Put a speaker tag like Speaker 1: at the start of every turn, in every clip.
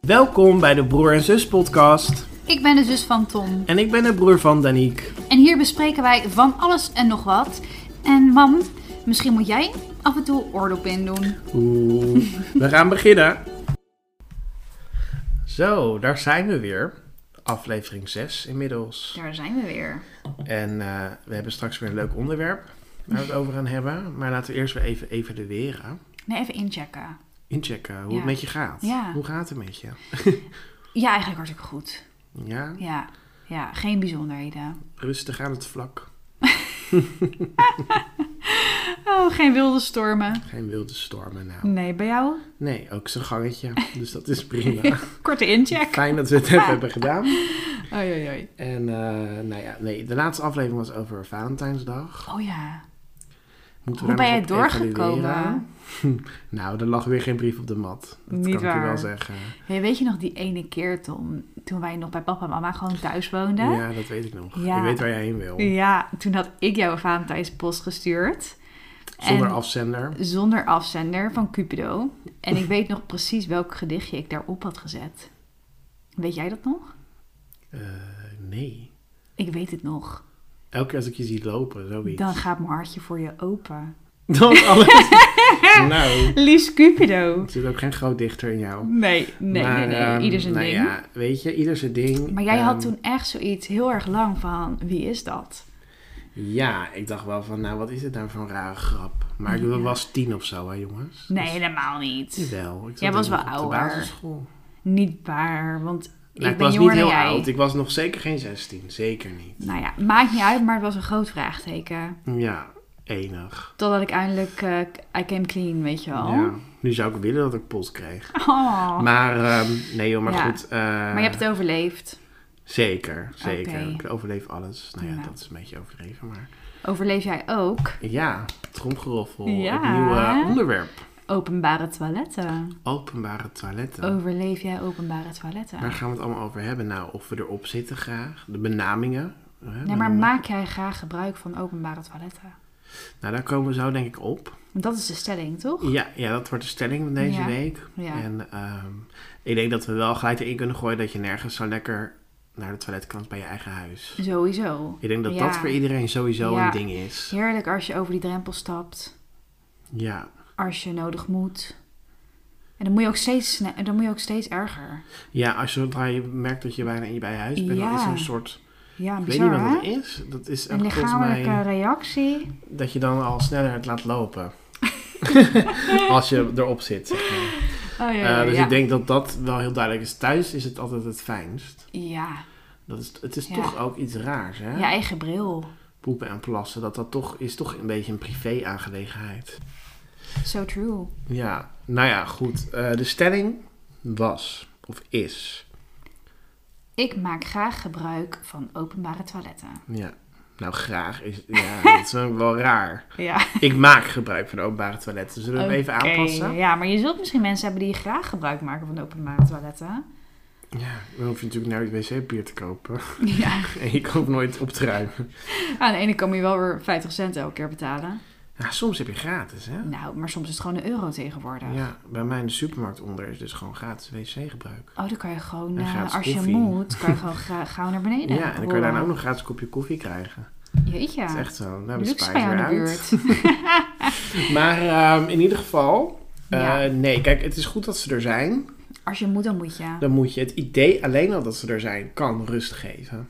Speaker 1: Welkom bij de Broer en Zus podcast.
Speaker 2: Ik ben de zus van Tom
Speaker 1: En ik ben de broer van Daniek.
Speaker 2: en hier bespreken wij van alles en nog wat. En mam, misschien moet jij af en toe oordop in doen.
Speaker 1: Oeh, we gaan beginnen. Zo, daar zijn we weer. Aflevering 6 inmiddels.
Speaker 2: Daar zijn we weer.
Speaker 1: En eh, we hebben straks weer een leuk onderwerp waar we het over gaan hebben. Maar laten we eerst weer even evalueren.
Speaker 2: Nee, even inchecken.
Speaker 1: Inchecken hoe
Speaker 2: Ja.
Speaker 1: het met je gaat.
Speaker 2: Ja.
Speaker 1: Hoe gaat het met je?
Speaker 2: Ja, eigenlijk hartstikke goed.
Speaker 1: Ja,
Speaker 2: Ja, ja geen bijzonderheden.
Speaker 1: rustig aan het vlak.
Speaker 2: Oh, geen wilde stormen.
Speaker 1: Geen wilde stormen nou.
Speaker 2: Nee, bij jou?
Speaker 1: Nee, ook zo'n gangetje. Dus dat is prima.
Speaker 2: Korte incheck.
Speaker 1: Fijn dat we het even hebben gedaan.
Speaker 2: Oei, oei, oei.
Speaker 1: En eh, nou ja, nee, de laatste aflevering was over Valentijnsdag.
Speaker 2: Oh ja.
Speaker 1: Moeten
Speaker 2: Hoe
Speaker 1: daar
Speaker 2: ben
Speaker 1: nog
Speaker 2: je
Speaker 1: op
Speaker 2: doorgekomen?
Speaker 1: evalueren? nou, er lag weer geen brief op de mat. Dat
Speaker 2: Niet
Speaker 1: kan ik je wel
Speaker 2: waar.
Speaker 1: zeggen.
Speaker 2: Hey, weet je nog die ene keer, Tom, toen wij nog bij papa en mama gewoon thuis woonden?
Speaker 1: Ja, dat weet ik nog.
Speaker 2: Ja.
Speaker 1: Je weet waar jij heen wil.
Speaker 2: Ja, toen had ik jou een Valentijnspost gestuurd.
Speaker 1: Zonder
Speaker 2: En-
Speaker 1: afzender.
Speaker 2: Zonder afzender van Cupido. En ik weet nog precies welk gedichtje ik daarop had gezet. Weet jij dat nog?
Speaker 1: Eh, nee.
Speaker 2: Ik weet het nog.
Speaker 1: Elke keer als ik je zie lopen, zoiets.
Speaker 2: Dan gaat mijn hartje voor je open.
Speaker 1: Dan alles. nou,
Speaker 2: Liefst Cupido.
Speaker 1: er zit ook geen groot dichter in jou.
Speaker 2: Nee, nee,
Speaker 1: Maar,
Speaker 2: nee, nee.
Speaker 1: ehm,
Speaker 2: Ieder zijn
Speaker 1: nou
Speaker 2: ding.
Speaker 1: Ja, weet je, ieder zijn ding.
Speaker 2: Maar jij had
Speaker 1: Ehm,
Speaker 2: toen echt zoiets heel erg lang van, wie is dat?
Speaker 1: Ja, ik dacht wel van, nou, wat is dit nou voor een rare grap? Maar ik
Speaker 2: Ja.
Speaker 1: was tien of zo, hè, jongens.
Speaker 2: Nee,
Speaker 1: Dus-
Speaker 2: helemaal niet.
Speaker 1: Jawel. Ik zat
Speaker 2: Jij was
Speaker 1: nog
Speaker 2: wel
Speaker 1: Op de
Speaker 2: ouder.
Speaker 1: basisschool.
Speaker 2: Niet waar, want
Speaker 1: Nou,
Speaker 2: ik
Speaker 1: ik
Speaker 2: ben
Speaker 1: was
Speaker 2: jonger
Speaker 1: niet
Speaker 2: dan
Speaker 1: heel
Speaker 2: jij.
Speaker 1: oud. Ik was nog zeker geen 16. Zeker niet.
Speaker 2: Nou ja, maakt niet uit, maar het was een groot vraagteken.
Speaker 1: Ja, enig.
Speaker 2: Totdat ik eindelijk, eh I came clean, weet je wel.
Speaker 1: Ja. Nu zou ik willen dat ik pot kreeg.
Speaker 2: Oh.
Speaker 1: Maar ehm, nee joh, maar
Speaker 2: Ja.
Speaker 1: goed. eh,
Speaker 2: Maar je hebt het overleefd.
Speaker 1: Zeker, zeker.
Speaker 2: Oké.
Speaker 1: Ik overleef alles. Nou ja,
Speaker 2: Nou.
Speaker 1: dat is een beetje overdreven, maar...
Speaker 2: Overleef jij ook
Speaker 1: Ja, tromgeroffel.
Speaker 2: Ja.
Speaker 1: Het nieuwe eh, onderwerp.
Speaker 2: openbare toiletten?
Speaker 1: Openbare toiletten.
Speaker 2: Oh, Overleef jij openbare toiletten?
Speaker 1: Waar gaan we het allemaal over hebben? Nou, of we erop zitten graag. De benamingen. hè,
Speaker 2: nee, maar
Speaker 1: benoemen.
Speaker 2: maak jij graag gebruik van openbare toiletten?
Speaker 1: Nou, daar komen we zo denk ik op.
Speaker 2: Want dat is de stelling, toch?
Speaker 1: Ja, ja, dat wordt de stelling van deze
Speaker 2: Ja.
Speaker 1: week.
Speaker 2: Ja.
Speaker 1: En ehm, ik denk dat we wel gelijk erin kunnen gooien dat je nergens zo lekker naar de toilet kan als bij je eigen huis.
Speaker 2: Sowieso.
Speaker 1: Ik denk dat
Speaker 2: Ja.
Speaker 1: dat voor iedereen sowieso
Speaker 2: Ja.
Speaker 1: een ding is.
Speaker 2: Heerlijk als je over die drempel stapt,
Speaker 1: Ja.
Speaker 2: als je nodig moet. En dan moet je ook steeds, sne- dan moet je ook steeds erger.
Speaker 1: Ja, als je, zodra je merkt dat je bijna in je bij je huis bent, dan
Speaker 2: Ja.
Speaker 1: is er een soort...
Speaker 2: Ja,
Speaker 1: Ik weet niet
Speaker 2: bizar
Speaker 1: wat
Speaker 2: hè?
Speaker 1: dat is. Dat is
Speaker 2: Een
Speaker 1: echt volgens mij
Speaker 2: lichamelijke reactie.
Speaker 1: dat je dan al sneller het laat lopen. als je erop zit. zeg maar.
Speaker 2: Oh, ja,
Speaker 1: Eh,
Speaker 2: ja,
Speaker 1: dus
Speaker 2: ja.
Speaker 1: ik denk dat dat wel heel duidelijk is. Thuis is het altijd het fijnst.
Speaker 2: ja.
Speaker 1: Dat is, het is
Speaker 2: Ja.
Speaker 1: toch ook iets raars, hè?
Speaker 2: je eigen bril.
Speaker 1: poepen en plassen, dat dat toch is toch een beetje een privé aangelegenheid.
Speaker 2: So true.
Speaker 1: Ja, nou ja, goed. Eh, de stelling was of is.
Speaker 2: Ik maak graag gebruik van openbare toiletten.
Speaker 1: Ja. Nou, graag is. Ja, dat is wel wel raar.
Speaker 2: Ja.
Speaker 1: Ik maak gebruik van openbare toiletten. Zullen we hem even
Speaker 2: Oké,
Speaker 1: aanpassen?
Speaker 2: Ja, maar je zult misschien mensen hebben die graag gebruik maken van de openbare toiletten.
Speaker 1: Ja, dan hoef je natuurlijk nooit wc-papier te kopen.
Speaker 2: Ja.
Speaker 1: en je koopt nooit op te ruimen.
Speaker 2: Aan de ene kan je wel weer 50 cent elke keer betalen.
Speaker 1: Ja, soms heb je gratis, hè?
Speaker 2: Nou, maar soms is het gewoon een euro tegenwoordig.
Speaker 1: Ja, bij mij in de supermarkt onder is dus gewoon gratis wc-gebruik.
Speaker 2: Oh, dan kan je gewoon,
Speaker 1: En
Speaker 2: eh,
Speaker 1: gratis
Speaker 2: als je
Speaker 1: koffie.
Speaker 2: moet, kan je gewoon gra- gauw naar beneden.
Speaker 1: Ja, en dan kan je daarna ook nog een gratis kopje koffie krijgen.
Speaker 2: Jeetje.
Speaker 1: Dat is echt zo. Nou, we
Speaker 2: Luxe
Speaker 1: spijzen
Speaker 2: bij jou in
Speaker 1: weer
Speaker 2: de
Speaker 1: uit.
Speaker 2: buurt.
Speaker 1: Maar ehm, in ieder geval, eh,
Speaker 2: Ja.
Speaker 1: nee, kijk, het is goed dat ze er zijn.
Speaker 2: Als je moet, dan moet je.
Speaker 1: Dan moet je het idee alleen al dat ze er zijn, kan rust geven.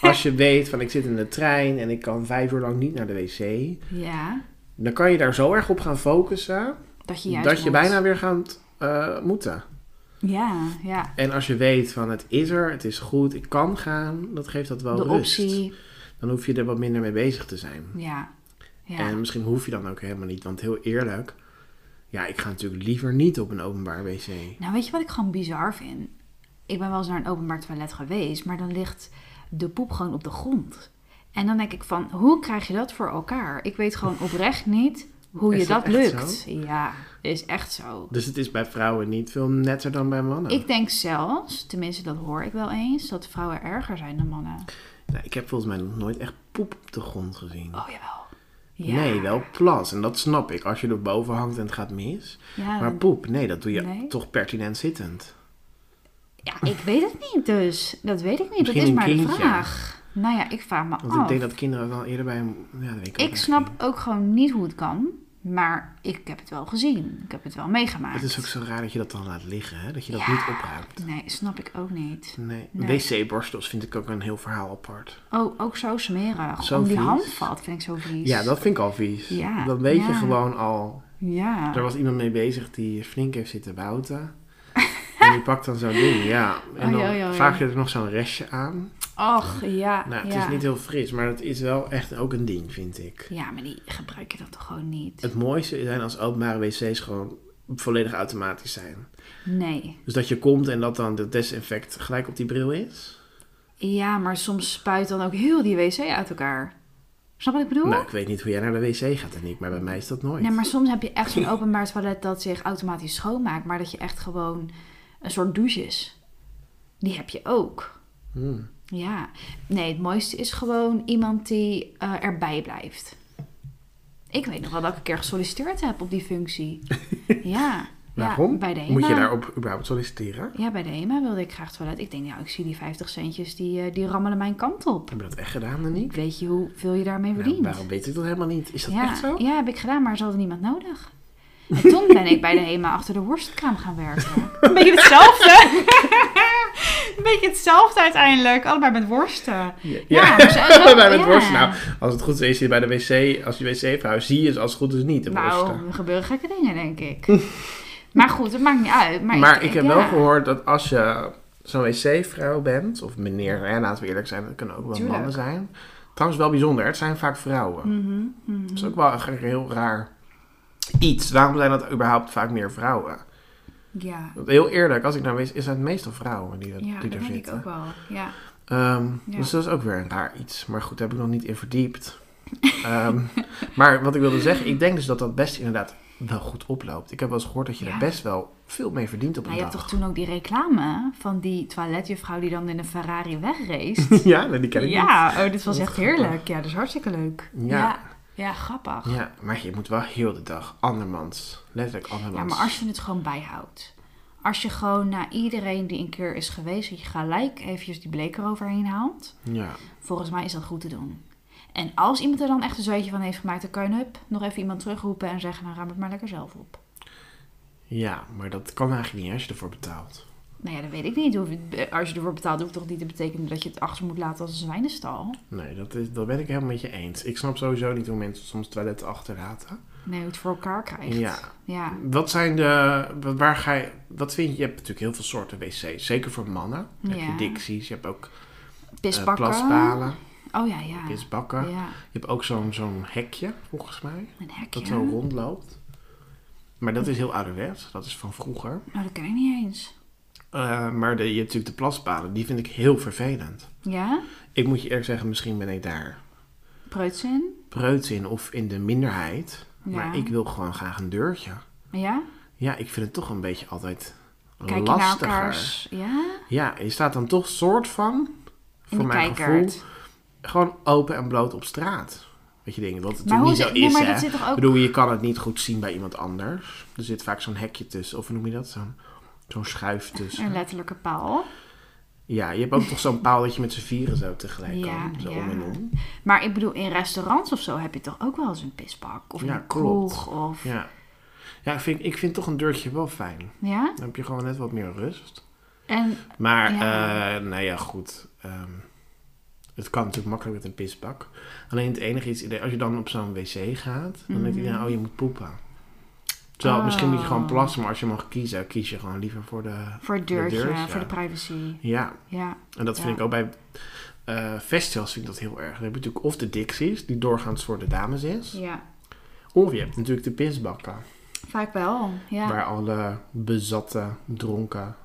Speaker 1: Als je weet van ik zit in de trein en ik kan vijf uur lang niet naar de wc,
Speaker 2: Ja,
Speaker 1: dan kan je daar zo erg op gaan focussen
Speaker 2: dat je juist
Speaker 1: dat je
Speaker 2: moet.
Speaker 1: bijna weer gaat eh, moeten.
Speaker 2: Ja, ja.
Speaker 1: En als je weet van het is er, het is goed, ik kan gaan, dat geeft dat wel
Speaker 2: de
Speaker 1: rust.
Speaker 2: optie.
Speaker 1: Dan hoef je er wat minder mee bezig te zijn.
Speaker 2: Ja. Ja.
Speaker 1: En misschien hoef je dan ook helemaal niet, want heel eerlijk, ja, ik ga natuurlijk liever niet op een openbaar wc.
Speaker 2: Nou, weet je wat ik gewoon bizar vind? Ik ben wel eens naar een openbaar toilet geweest, maar dan ligt de poep gewoon op de grond. En dan denk ik van, hoe krijg je dat voor elkaar? Ik weet gewoon oprecht niet hoe
Speaker 1: Is
Speaker 2: je
Speaker 1: dat
Speaker 2: dat,
Speaker 1: echt
Speaker 2: lukt. Ja, is echt zo.
Speaker 1: Dus het is bij vrouwen niet veel netter dan bij mannen.
Speaker 2: Ik denk zelfs, tenminste dat hoor ik wel eens, dat vrouwen erger zijn dan mannen.
Speaker 1: Nou, ik heb volgens mij nog nooit echt poep op de grond gezien.
Speaker 2: Oh jawel. Ja.
Speaker 1: Nee, wel plas. En dat snap ik. Als je er boven hangt en het gaat mis.
Speaker 2: Ja,
Speaker 1: Maar
Speaker 2: dan-
Speaker 1: poep, nee, dat doe je
Speaker 2: Nee?
Speaker 1: toch pertinent zittend.
Speaker 2: Ja, ik weet het niet dus. Dat weet ik niet.
Speaker 1: Misschien
Speaker 2: dat is
Speaker 1: een
Speaker 2: maar de
Speaker 1: kindje.
Speaker 2: vraag. Nou ja, ik vraag me
Speaker 1: Want
Speaker 2: af.
Speaker 1: ik denk dat kinderen dan eerder bij hem... Ja, dat weet ik ook
Speaker 2: Ik
Speaker 1: echt
Speaker 2: snap
Speaker 1: niet.
Speaker 2: ook gewoon niet hoe het kan. Maar ik heb het wel gezien. Ik heb het wel meegemaakt.
Speaker 1: Het is ook zo raar dat je dat dan laat liggen, hè? Dat je dat
Speaker 2: Ja.
Speaker 1: niet opruimt.
Speaker 2: Nee, snap ik ook niet.
Speaker 1: Nee.
Speaker 2: Nee.
Speaker 1: Wc-borstels vind ik ook een heel verhaal apart.
Speaker 2: Oh, ook zo smerig.
Speaker 1: Zo
Speaker 2: Om die
Speaker 1: vies.
Speaker 2: handvat vind ik zo vies.
Speaker 1: Ja, dat vind ik al vies.
Speaker 2: Ja,
Speaker 1: Dan weet je
Speaker 2: ja.
Speaker 1: gewoon al...
Speaker 2: Ja.
Speaker 1: Er was iemand mee bezig die flink heeft zitten bouten. en die pakt dan zo'n ding, ja. En
Speaker 2: Oei,
Speaker 1: dan
Speaker 2: oei, oei.
Speaker 1: vaag je er nog zo'n restje aan.
Speaker 2: Och, ja.
Speaker 1: Nou, het
Speaker 2: ja.
Speaker 1: is niet heel fris, maar het is wel echt ook een ding, vind ik.
Speaker 2: ja, maar die gebruik je dan toch gewoon niet?
Speaker 1: Het mooiste zijn als openbare wc's gewoon volledig automatisch zijn.
Speaker 2: Nee.
Speaker 1: Dus dat je komt en dat dan de desinfect gelijk op die bril is.
Speaker 2: Ja, maar soms spuit dan ook heel die wc uit elkaar. Snap wat ik bedoel?
Speaker 1: Nou, ik weet niet hoe jij naar de wc gaat en ik, maar bij mij is dat nooit.
Speaker 2: Nee, maar soms heb je echt zo'n openbaar toilet dat zich automatisch schoonmaakt. Maar dat je echt gewoon een soort douche is. Die heb je ook.
Speaker 1: Hmm.
Speaker 2: Ja. Nee, het mooiste is gewoon iemand die eh, erbij blijft. Ik weet nog wel dat ik een keer gesolliciteerd heb op die functie. ja.
Speaker 1: Waarom?
Speaker 2: Ja, bij de
Speaker 1: Moet je
Speaker 2: HEMA.
Speaker 1: daarop überhaupt solliciteren?
Speaker 2: Ja, bij de HEMA wilde ik graag toilet. Ik denk, nou, ik zie die 50 centjes, die, eh, die rammelen mijn kant op.
Speaker 1: Heb je dat echt gedaan, Danique?
Speaker 2: Weet je hoeveel je daarmee
Speaker 1: Nou,
Speaker 2: verdient?
Speaker 1: waarom weet ik dat helemaal niet? Is dat
Speaker 2: ja,
Speaker 1: echt zo?
Speaker 2: ja, heb ik gedaan, maar ze hadden niemand nodig. En toen ben ik bij de HEMA achter de worstkraam gaan werken. Een beetje hetzelfde. Een beetje hetzelfde uiteindelijk. Allebei met worsten.
Speaker 1: Ja,
Speaker 2: Ja, maar zo- zo-
Speaker 1: bij het
Speaker 2: ja.
Speaker 1: worsten. Nou, als het goed is, is je bij de wc, als je wc-vrouw, zie je het als het goed is niet, de worsten.
Speaker 2: Nou, er gebeuren gekke dingen, denk ik. Maar goed, het maakt niet uit. Maar,
Speaker 1: Maar ik heb
Speaker 2: ja.
Speaker 1: wel gehoord dat als je zo'n wc-vrouw bent, of meneer, hè, laten we eerlijk zijn, dat kunnen ook wel
Speaker 2: Tuurlijk.
Speaker 1: mannen zijn. Trouwens wel bijzonder, het zijn vaak vrouwen.
Speaker 2: Mhm, mhm.
Speaker 1: Dat is ook wel een heel raar iets. Waarom zijn dat überhaupt vaak meer vrouwen?
Speaker 2: Ja,
Speaker 1: Want heel eerlijk, als ik naar wees, is het meestal vrouwen die, dat,
Speaker 2: ja
Speaker 1: die
Speaker 2: dat
Speaker 1: er
Speaker 2: denk ik
Speaker 1: zitten.
Speaker 2: ook wel. Ja.
Speaker 1: Ehm,
Speaker 2: Ja.
Speaker 1: Dus dat is ook weer een raar iets. Maar goed, daar heb ik nog niet in verdiept. Ehm, maar wat ik wilde zeggen, ik denk dus dat dat best inderdaad wel goed oploopt. Ik heb wel eens gehoord dat je
Speaker 2: Ja.
Speaker 1: er best wel veel mee verdient op een
Speaker 2: Nou, je hebt
Speaker 1: dag.
Speaker 2: toch toen ook die reclame van die toiletjuffrouw die dan in een Ferrari wegreest?
Speaker 1: ja, nee, die ken ik niet.
Speaker 2: ja, oh, dit
Speaker 1: Wat
Speaker 2: was echt
Speaker 1: grappig.
Speaker 2: heerlijk. Ja, dat is hartstikke leuk.
Speaker 1: Ja.
Speaker 2: ja, ja, grappig.
Speaker 1: Ja, maar je moet wel heel de dag andermans. Letterlijk andermans.
Speaker 2: Ja, maar als je het gewoon bijhoudt. Als je gewoon na iedereen die een keer is geweest, dat je gelijk eventjes die bleek eroverheen haalt.
Speaker 1: Ja,
Speaker 2: Volgens mij is dat goed te doen. En als iemand er dan echt een zweetje van heeft gemaakt, dan kan je hup, nog even iemand terugroepen en zeggen, nou ruim het maar lekker zelf op.
Speaker 1: ja, maar dat kan eigenlijk niet als je ervoor betaalt.
Speaker 2: Nou ja, dat weet ik niet. Hoef je- Als je ervoor betaalt, hoeft toch niet te betekenen dat je het achter moet laten als een zwijnenstal.
Speaker 1: Nee, dat, is, dat ben ik helemaal met je eens. Ik snap sowieso niet hoe mensen soms toiletten achterlaten.
Speaker 2: Nee, hoe het voor elkaar krijgt.
Speaker 1: Ja. Eh,
Speaker 2: Ja.
Speaker 1: Wat zijn de... wa- Waar ga je... Wat vind je? Je hebt natuurlijk heel veel soorten wc's. Zeker voor mannen. Dan heb
Speaker 2: Ja.
Speaker 1: je dicties. Je hebt ook eh
Speaker 2: Pisbakken.
Speaker 1: plaspalen.
Speaker 2: oh ja, ja.
Speaker 1: Pisbakken.
Speaker 2: Ja,
Speaker 1: Je hebt ook zo'n zo'n hekje, volgens mij.
Speaker 2: een hekje.
Speaker 1: Dat zo rondloopt. Maar dat is heel ouderwets. Dat is van vroeger.
Speaker 2: Nou, dat ken ik niet eens.
Speaker 1: Eh, maar de, je hebt natuurlijk de plaspalen. Die vind ik heel vervelend.
Speaker 2: Ja?
Speaker 1: Ik moet je eerlijk zeggen, misschien ben ik daar
Speaker 2: Preutzin?
Speaker 1: preuts in of in de minderheid.
Speaker 2: Ja.
Speaker 1: Maar ik wil gewoon graag een deurtje.
Speaker 2: Ja?
Speaker 1: Ja, ik vind het toch een beetje altijd
Speaker 2: Kijk je naar
Speaker 1: lastiger.
Speaker 2: elkaars. Ja?
Speaker 1: Ja, je staat dan toch soort van,
Speaker 2: In
Speaker 1: voor
Speaker 2: de
Speaker 1: mijn
Speaker 2: kijkert.
Speaker 1: gevoel, gewoon open en bloot op straat. Weet je dingen, wat het
Speaker 2: Maar
Speaker 1: natuurlijk
Speaker 2: hoe
Speaker 1: niet zo
Speaker 2: zit- nee,
Speaker 1: is,
Speaker 2: maar
Speaker 1: hè.
Speaker 2: dat zit toch ook-
Speaker 1: Ik bedoel, je kan het niet goed zien bij iemand anders. Er zit vaak zo'n hekje tussen, of hoe noem je dat? Zo'n zo'n schuif tussen.
Speaker 2: Een letterlijke paal.
Speaker 1: Ja, je hebt ook toch zo'n paal dat je met z'n vieren zo tegelijk
Speaker 2: Ja,
Speaker 1: kan. Zo
Speaker 2: ja.
Speaker 1: om en om.
Speaker 2: Maar ik bedoel, in restaurants of zo heb je toch ook wel eens een pisbak? Of
Speaker 1: Ja,
Speaker 2: een kroeg? Of... Ja.
Speaker 1: Ja, ja ik, vind, ik vind toch een deurtje wel fijn. Dan heb je gewoon net wat meer rust.
Speaker 2: En
Speaker 1: Maar,
Speaker 2: Ja.
Speaker 1: eh, nou ja, goed. ehm, het kan natuurlijk makkelijk met een pisbak. Alleen het enige is, als je dan op zo'n wc gaat, dan denkt iedereen, oh, je moet poepen. Terwijl
Speaker 2: Mhm. Oh.
Speaker 1: misschien moet je gewoon plassen, maar als je mag kiezen, kies je gewoon liever voor de...
Speaker 2: voor het deurtje,
Speaker 1: deurtje.
Speaker 2: voor de privacy.
Speaker 1: Ja,
Speaker 2: Ja.
Speaker 1: en dat vind
Speaker 2: Ja.
Speaker 1: ik ook bij eh, festivals vind ik dat heel erg. Dan heb je natuurlijk of de Dixies, die doorgaans voor de dames is.
Speaker 2: ja.
Speaker 1: Of je hebt natuurlijk de pisbakken.
Speaker 2: Vaak wel. Ja.
Speaker 1: Waar alle bezatte, dronken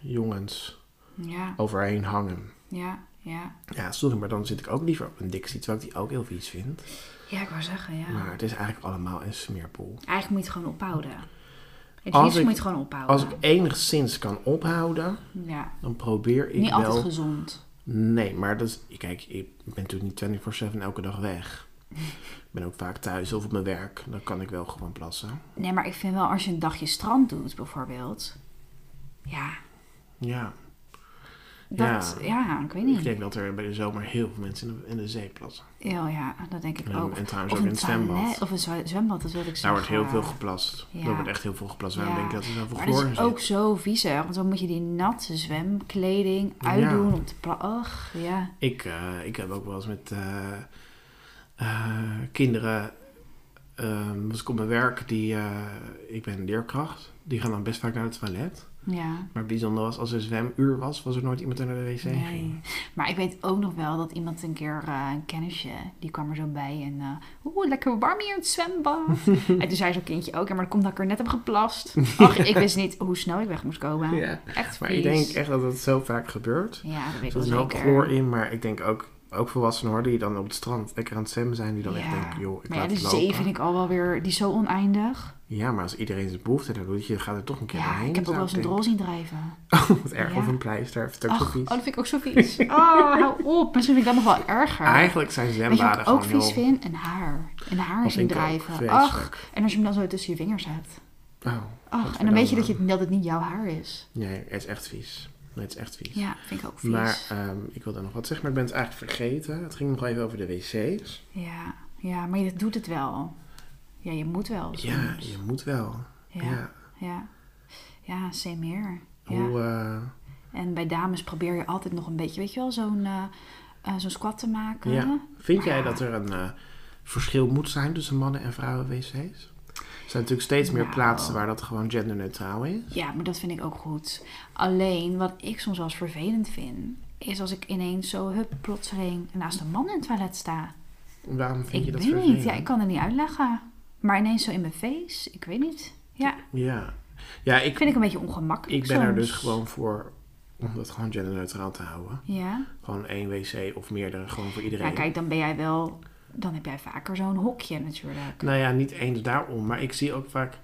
Speaker 1: jongens
Speaker 2: Ja.
Speaker 1: overheen hangen.
Speaker 2: Ja. Ja.
Speaker 1: Ja, sorry, maar dan zit ik ook liever op een Dixie, terwijl ik die ook heel vies vind.
Speaker 2: Ja, ik wou zeggen, ja.
Speaker 1: Maar het is eigenlijk allemaal een smeerpoel.
Speaker 2: Eigenlijk moet je het gewoon ophouden. Het
Speaker 1: Als
Speaker 2: liefst
Speaker 1: ik-
Speaker 2: moet je het gewoon ophouden.
Speaker 1: Als ik enigszins kan ophouden,
Speaker 2: Ja.
Speaker 1: dan probeer ik
Speaker 2: Niet altijd
Speaker 1: wel...
Speaker 2: gezond.
Speaker 1: Nee, maar dat is... Kijk, ik ben natuurlijk niet 24-7 elke dag weg. Ik ben ook vaak thuis of op mijn werk. Dan kan ik wel gewoon plassen.
Speaker 2: Nee, maar ik vind wel als je een dagje strand doet, bijvoorbeeld. Ja,
Speaker 1: Ja.
Speaker 2: dat, ja. ik weet niet.
Speaker 1: Ik denk dat er bij de zomer heel veel mensen in de, in de zee plassen.
Speaker 2: Ja, ja, dat denk ik
Speaker 1: En-
Speaker 2: ook.
Speaker 1: en trouwens
Speaker 2: of
Speaker 1: ook
Speaker 2: een
Speaker 1: in het zwembad.
Speaker 2: toilet, Of een zwa- zwembad, dat wil ik zeggen.
Speaker 1: Daar wordt heel veel geplast.
Speaker 2: ja.
Speaker 1: Er wordt echt heel veel geplast. Waarom
Speaker 2: Ja.
Speaker 1: denk je dat er zoveel
Speaker 2: Maar
Speaker 1: chloor
Speaker 2: dat
Speaker 1: in
Speaker 2: is
Speaker 1: zit?
Speaker 2: ook zo viezig, want dan moet je die natte zwemkleding uitdoen
Speaker 1: Ja.
Speaker 2: om te pla- Ach, ja.
Speaker 1: Ik, eh, ik heb ook wel eens met eh, eh, kinderen. ehm was ik op mijn werk, die, eh, ik ben leerkracht. Die gaan dan best vaak naar het toilet.
Speaker 2: Ja.
Speaker 1: Maar het bijzonder was, als er zwemuur was, was er nooit iemand die naar de wc ging.
Speaker 2: Nee. Maar ik weet ook nog wel dat iemand een keer eh, een kennisje, die kwam er zo bij en eh oeh, lekker warm hier in het zwembad. en toen zei zo'n kindje ook, ja, maar dat komt dat ik er net heb geplast. Ach, ik wist niet hoe snel ik weg moest komen.
Speaker 1: Ja.
Speaker 2: Echt
Speaker 1: Maar ik
Speaker 2: Ah, vies.
Speaker 1: denk echt dat dat zo vaak gebeurt.
Speaker 2: Ja, dat weet
Speaker 1: Er
Speaker 2: ik
Speaker 1: zit
Speaker 2: wel
Speaker 1: een hoop
Speaker 2: zeker.
Speaker 1: chloor in, maar ik denk ook, ook volwassenen hoor, die dan op het strand lekker aan het zwemmen zijn. Die dan echt
Speaker 2: Ja.
Speaker 1: denken, joh, ik
Speaker 2: maar ja,
Speaker 1: laat
Speaker 2: de
Speaker 1: het lopen.
Speaker 2: zee vind ik al wel weer, die is zo oneindig.
Speaker 1: Ja, maar als iedereen zijn behoefte daar doet, je gaat er toch een keer
Speaker 2: Ja,
Speaker 1: doorheen.
Speaker 2: ik heb ook
Speaker 1: zou
Speaker 2: wel eens een
Speaker 1: denken.
Speaker 2: drol zien drijven.
Speaker 1: Oh, wat erg.
Speaker 2: Ja.
Speaker 1: Of een pleister, of het ook zo
Speaker 2: Ach, oh,
Speaker 1: vies.
Speaker 2: dat vind ik ook zo vies. Oh, hou op. Misschien vind ik dat nog wel erger.
Speaker 1: Eigenlijk zijn
Speaker 2: Weet Oh. je
Speaker 1: zwembaden
Speaker 2: wat ik ook
Speaker 1: gewoon
Speaker 2: vies
Speaker 1: heel...
Speaker 2: vind? Een haar. Een haar
Speaker 1: Dat
Speaker 2: zien
Speaker 1: vind ik ook
Speaker 2: drijven.
Speaker 1: vreselijk.
Speaker 2: Ach, en als je hem dan zo tussen je vingers hebt.
Speaker 1: Oh,
Speaker 2: Ach,
Speaker 1: Wat
Speaker 2: en dan weet
Speaker 1: verdamme.
Speaker 2: je dat, je, dat het niet jouw haar is.
Speaker 1: nee, het is echt vies. Nee, het is echt vies.
Speaker 2: Ja, vind ik ook vies.
Speaker 1: Maar ehm, ik wilde nog wat zeggen, maar ik ben het eigenlijk vergeten. Het ging nog even over de wc's.
Speaker 2: ja, ja, maar je doet het wel. Ja, je moet wel.
Speaker 1: Ja,
Speaker 2: soms.
Speaker 1: je moet wel. Ja.
Speaker 2: ja. Ja, ja say meer. Ja.
Speaker 1: Hoe, eh,
Speaker 2: En bij dames probeer je altijd nog een beetje, weet je wel, zo'n eh, eh, zo'n squat te maken.
Speaker 1: ja. Vind jij
Speaker 2: Ja.
Speaker 1: dat er een eh, verschil moet zijn tussen mannen en vrouwen wc's? Er zijn natuurlijk steeds meer
Speaker 2: Nou.
Speaker 1: plaatsen waar dat gewoon genderneutraal is.
Speaker 2: Ja, maar dat vind ik ook goed. Alleen wat ik soms wel eens vervelend vind, is als ik ineens zo hup plotseling naast een man in het toilet sta.
Speaker 1: Waarom vind
Speaker 2: ik
Speaker 1: je dat
Speaker 2: weet
Speaker 1: vervelend?
Speaker 2: niet, ja, ik kan het niet uitleggen. Maar ineens zo in mijn face, ik weet niet. Ja,
Speaker 1: ja. ja, ik,
Speaker 2: vind ik een beetje ongemakkelijk.
Speaker 1: ik ben er dus
Speaker 2: soms.
Speaker 1: gewoon voor om dat gewoon genderneutraal te houden.
Speaker 2: Ja.
Speaker 1: Gewoon één wc of meerdere, gewoon voor iedereen.
Speaker 2: ja, kijk, dan ben jij wel, dan heb jij vaker zo'n hokje natuurlijk.
Speaker 1: Nou ja, niet eens daarom, maar ik zie ook vaak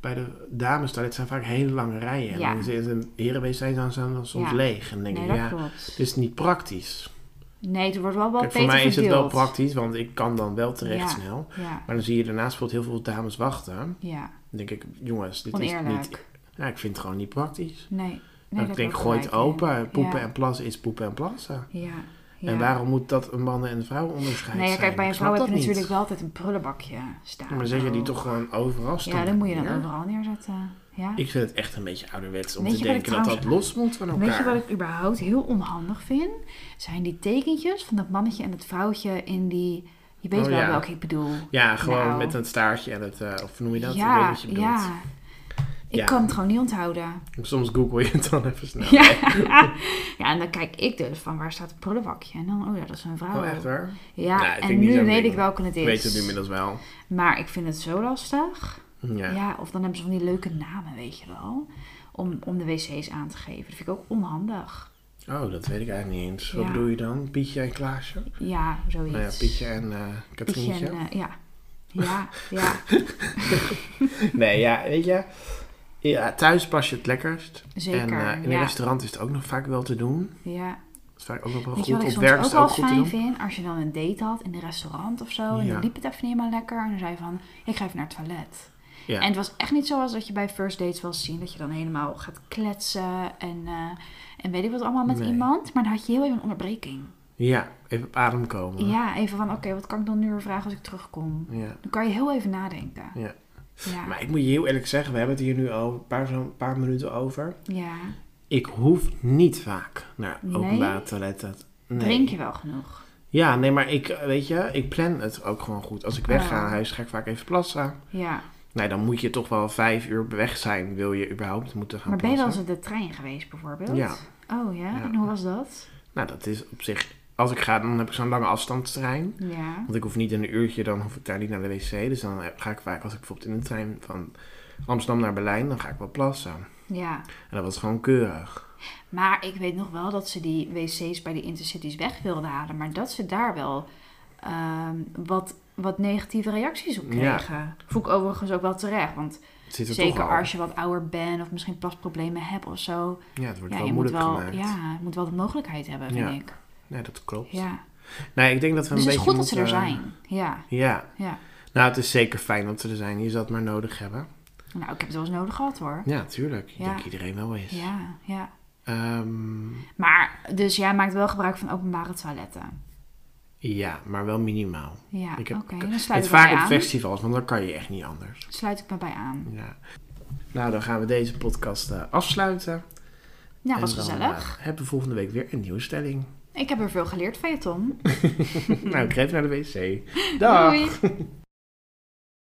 Speaker 1: bij de dames daar, het zijn vaak hele lange rijen.
Speaker 2: Ja.
Speaker 1: En dan zit een herenbeest zijn dan zijn dan soms
Speaker 2: Ja.
Speaker 1: leeg. En dan denk
Speaker 2: Nee,
Speaker 1: ik,
Speaker 2: dat
Speaker 1: ja,
Speaker 2: klopt.
Speaker 1: het is niet praktisch.
Speaker 2: Nee, het wordt wel wat
Speaker 1: Kijk,
Speaker 2: beter
Speaker 1: voor mij is het wel
Speaker 2: verdeeld.
Speaker 1: praktisch, want ik kan dan wel terecht
Speaker 2: Ja.
Speaker 1: snel.
Speaker 2: Ja,
Speaker 1: Maar dan zie je daarnaast bijvoorbeeld heel veel dames wachten. Dan
Speaker 2: ja.
Speaker 1: denk ik, jongens, dit is
Speaker 2: oneerlijk.
Speaker 1: niet... Ja, ik vind het gewoon niet praktisch.
Speaker 2: Nee, nee
Speaker 1: Dan
Speaker 2: dat
Speaker 1: ik denk,
Speaker 2: heb je
Speaker 1: gooi het
Speaker 2: gelijk in.
Speaker 1: open. Poepen
Speaker 2: Ja.
Speaker 1: en plassen is poepen en plassen.
Speaker 2: Ja. ja.
Speaker 1: En waarom moet dat een mannen- en een vrouw onderscheid
Speaker 2: Nee, ja,
Speaker 1: zijn?
Speaker 2: kijk, bij een
Speaker 1: Ik
Speaker 2: vrouw
Speaker 1: snap dat
Speaker 2: heb je
Speaker 1: niet.
Speaker 2: natuurlijk wel altijd een prullenbakje staan.
Speaker 1: Maar dan zeg je die
Speaker 2: Oh.
Speaker 1: toch gewoon overal staan?
Speaker 2: Ja, dan moet je dat
Speaker 1: Ja.
Speaker 2: overal neerzetten. Ja.
Speaker 1: Ik vind het echt een beetje ouderwets om
Speaker 2: Weet
Speaker 1: te
Speaker 2: je wat ik
Speaker 1: denken dat dat
Speaker 2: trouwens-
Speaker 1: los moet van elkaar.
Speaker 2: Weet je wat ik überhaupt heel onhandig vind? Zijn die tekentjes van dat mannetje en dat vrouwtje in die... Je weet
Speaker 1: Oh,
Speaker 2: wel
Speaker 1: ja.
Speaker 2: welke ik bedoel.
Speaker 1: Ja, gewoon
Speaker 2: Nou.
Speaker 1: met een staartje en het, eh, of noem je dat?
Speaker 2: ja,
Speaker 1: ik weet wat je bedoelt.
Speaker 2: ja. Ik
Speaker 1: Ja. Nou.
Speaker 2: kan het gewoon niet onthouden.
Speaker 1: Soms google je het dan even snel.
Speaker 2: Ja. ja, en dan kijk ik dus van waar staat het prullenbakje. En dan, oh ja, dat is een vrouw.
Speaker 1: Oh, echt waar?
Speaker 2: Ja,
Speaker 1: Nou, dat vind ik
Speaker 2: en
Speaker 1: niet
Speaker 2: nu
Speaker 1: zo'n
Speaker 2: weet
Speaker 1: ding.
Speaker 2: ik welke het is.
Speaker 1: Ik weet het nu inmiddels wel.
Speaker 2: Maar ik vind het zo lastig.
Speaker 1: Ja.
Speaker 2: Ja. of dan hebben ze van die leuke namen, weet je wel. Om, om de wc's aan te geven. Dat vind ik ook onhandig.
Speaker 1: Oh, dat weet ik eigenlijk niet eens. Wat
Speaker 2: Ja.
Speaker 1: bedoel je dan? Pietje en Klaasje?
Speaker 2: Ja, zoiets.
Speaker 1: Nou ja, Pietje en eh
Speaker 2: Pietje
Speaker 1: Katrientje.
Speaker 2: en, eh, ja. Ja, ja, eh,
Speaker 1: Nee, ja, weet je. Ja, thuis pas je het lekkerst.
Speaker 2: Zeker,
Speaker 1: En eh, in
Speaker 2: ja.
Speaker 1: een restaurant is het ook nog vaak wel te doen.
Speaker 2: ja.
Speaker 1: Dat is vaak ook nog wel
Speaker 2: Weet je
Speaker 1: goed.
Speaker 2: wat ik
Speaker 1: Op
Speaker 2: soms
Speaker 1: werk
Speaker 2: ook
Speaker 1: is het
Speaker 2: wel
Speaker 1: ook goed te
Speaker 2: fijn
Speaker 1: doen.
Speaker 2: vind? Als je dan een date had in een restaurant of zo. En
Speaker 1: Ja.
Speaker 2: dan liep het even niet helemaal lekker. En dan zei je van, ik ga even naar het toilet.
Speaker 1: Ja.
Speaker 2: En het was echt niet zoals dat je bij first dates wel zien. Dat je dan helemaal gaat kletsen. En, eh, en weet ik wat allemaal met
Speaker 1: Nee.
Speaker 2: iemand. Maar dan had je heel even een onderbreking.
Speaker 1: ja, even op adem komen.
Speaker 2: Ja, even van, oké, wat kan ik dan nu weer vragen als ik terugkom?
Speaker 1: ja.
Speaker 2: Dan kan je heel even nadenken.
Speaker 1: ja.
Speaker 2: Ja.
Speaker 1: Maar ik moet je heel eerlijk zeggen, we hebben het hier nu al een paar, zo'n paar minuten over.
Speaker 2: ja.
Speaker 1: Ik hoef niet vaak naar
Speaker 2: Nee?
Speaker 1: openbare toiletten. Nee.
Speaker 2: Drink je wel genoeg?
Speaker 1: Ja, nee, maar ik, eh, weet je, ik plan het ook gewoon goed. Als ik wegga
Speaker 2: Oh.
Speaker 1: naar huis, ga ik vaak even plassen.
Speaker 2: Ja.
Speaker 1: Nee, dan moet je toch wel vijf uur weg zijn, wil je überhaupt moeten gaan
Speaker 2: Maar ben je wel eens
Speaker 1: plassen.
Speaker 2: op de trein geweest bijvoorbeeld?
Speaker 1: Ja.
Speaker 2: Oh ja?
Speaker 1: Ja.
Speaker 2: En hoe was dat?
Speaker 1: Nou, dat is op zich... Als ik ga, dan heb ik zo'n lange afstandstrein.
Speaker 2: Ja.
Speaker 1: Want ik hoef niet in een uurtje, dan hoef ik daar niet naar de wc. Dus dan eh, ga ik vaak, als ik bijvoorbeeld in een trein van Amsterdam naar Berlijn, dan ga ik wel plassen.
Speaker 2: Ja.
Speaker 1: En dat was gewoon keurig.
Speaker 2: Maar ik weet nog wel dat ze die wc's bij de intercities weg wilden halen. Maar dat ze daar wel ehm, wat, wat negatieve reacties op
Speaker 1: Ja.
Speaker 2: kregen. Voel ik overigens ook wel terecht. Want
Speaker 1: Het zit er toch
Speaker 2: zeker
Speaker 1: al.
Speaker 2: als je wat ouder bent of misschien plasproblemen hebt of zo.
Speaker 1: Ja, het wordt
Speaker 2: Ja, je
Speaker 1: wel
Speaker 2: moet
Speaker 1: moeilijk
Speaker 2: wel,
Speaker 1: gemaakt.
Speaker 2: ja, je moet wel de mogelijkheid hebben, vind
Speaker 1: Ja.
Speaker 2: ik.
Speaker 1: Nee, dat klopt.
Speaker 2: Ja.
Speaker 1: Nee, ik denk dat we
Speaker 2: Dus
Speaker 1: een
Speaker 2: het is
Speaker 1: beetje eh,
Speaker 2: goed dat ze er
Speaker 1: moeten-
Speaker 2: zijn. Ja,
Speaker 1: Ja.
Speaker 2: ja.
Speaker 1: Nou, het is zeker fijn dat ze er zijn. Je zal het maar nodig hebben.
Speaker 2: Nou, ik heb het wel eens nodig gehad hoor.
Speaker 1: Ja, tuurlijk. Ik
Speaker 2: Ja.
Speaker 1: denk iedereen wel eens.
Speaker 2: Ja, ja.
Speaker 1: Ehm,
Speaker 2: Maar, dus jij maakt wel gebruik van openbare toiletten.
Speaker 1: ja, maar wel minimaal.
Speaker 2: Ja,
Speaker 1: Ik
Speaker 2: oké.
Speaker 1: heb-
Speaker 2: Dan
Speaker 1: Het
Speaker 2: sluit ik me
Speaker 1: vaak
Speaker 2: bij
Speaker 1: op
Speaker 2: aan.
Speaker 1: festivals, want dan kan je echt niet anders.
Speaker 2: Sluit ik me bij aan.
Speaker 1: Ja. Nou, dan gaan we deze podcast eh, afsluiten.
Speaker 2: Ja,
Speaker 1: En
Speaker 2: was
Speaker 1: dan,
Speaker 2: gezellig.
Speaker 1: eh, hebben we volgende week weer een nieuwe stelling.
Speaker 2: Ik heb er veel geleerd van je, Tom.
Speaker 1: nou, ik geef naar de wc. Dag!
Speaker 2: Doei.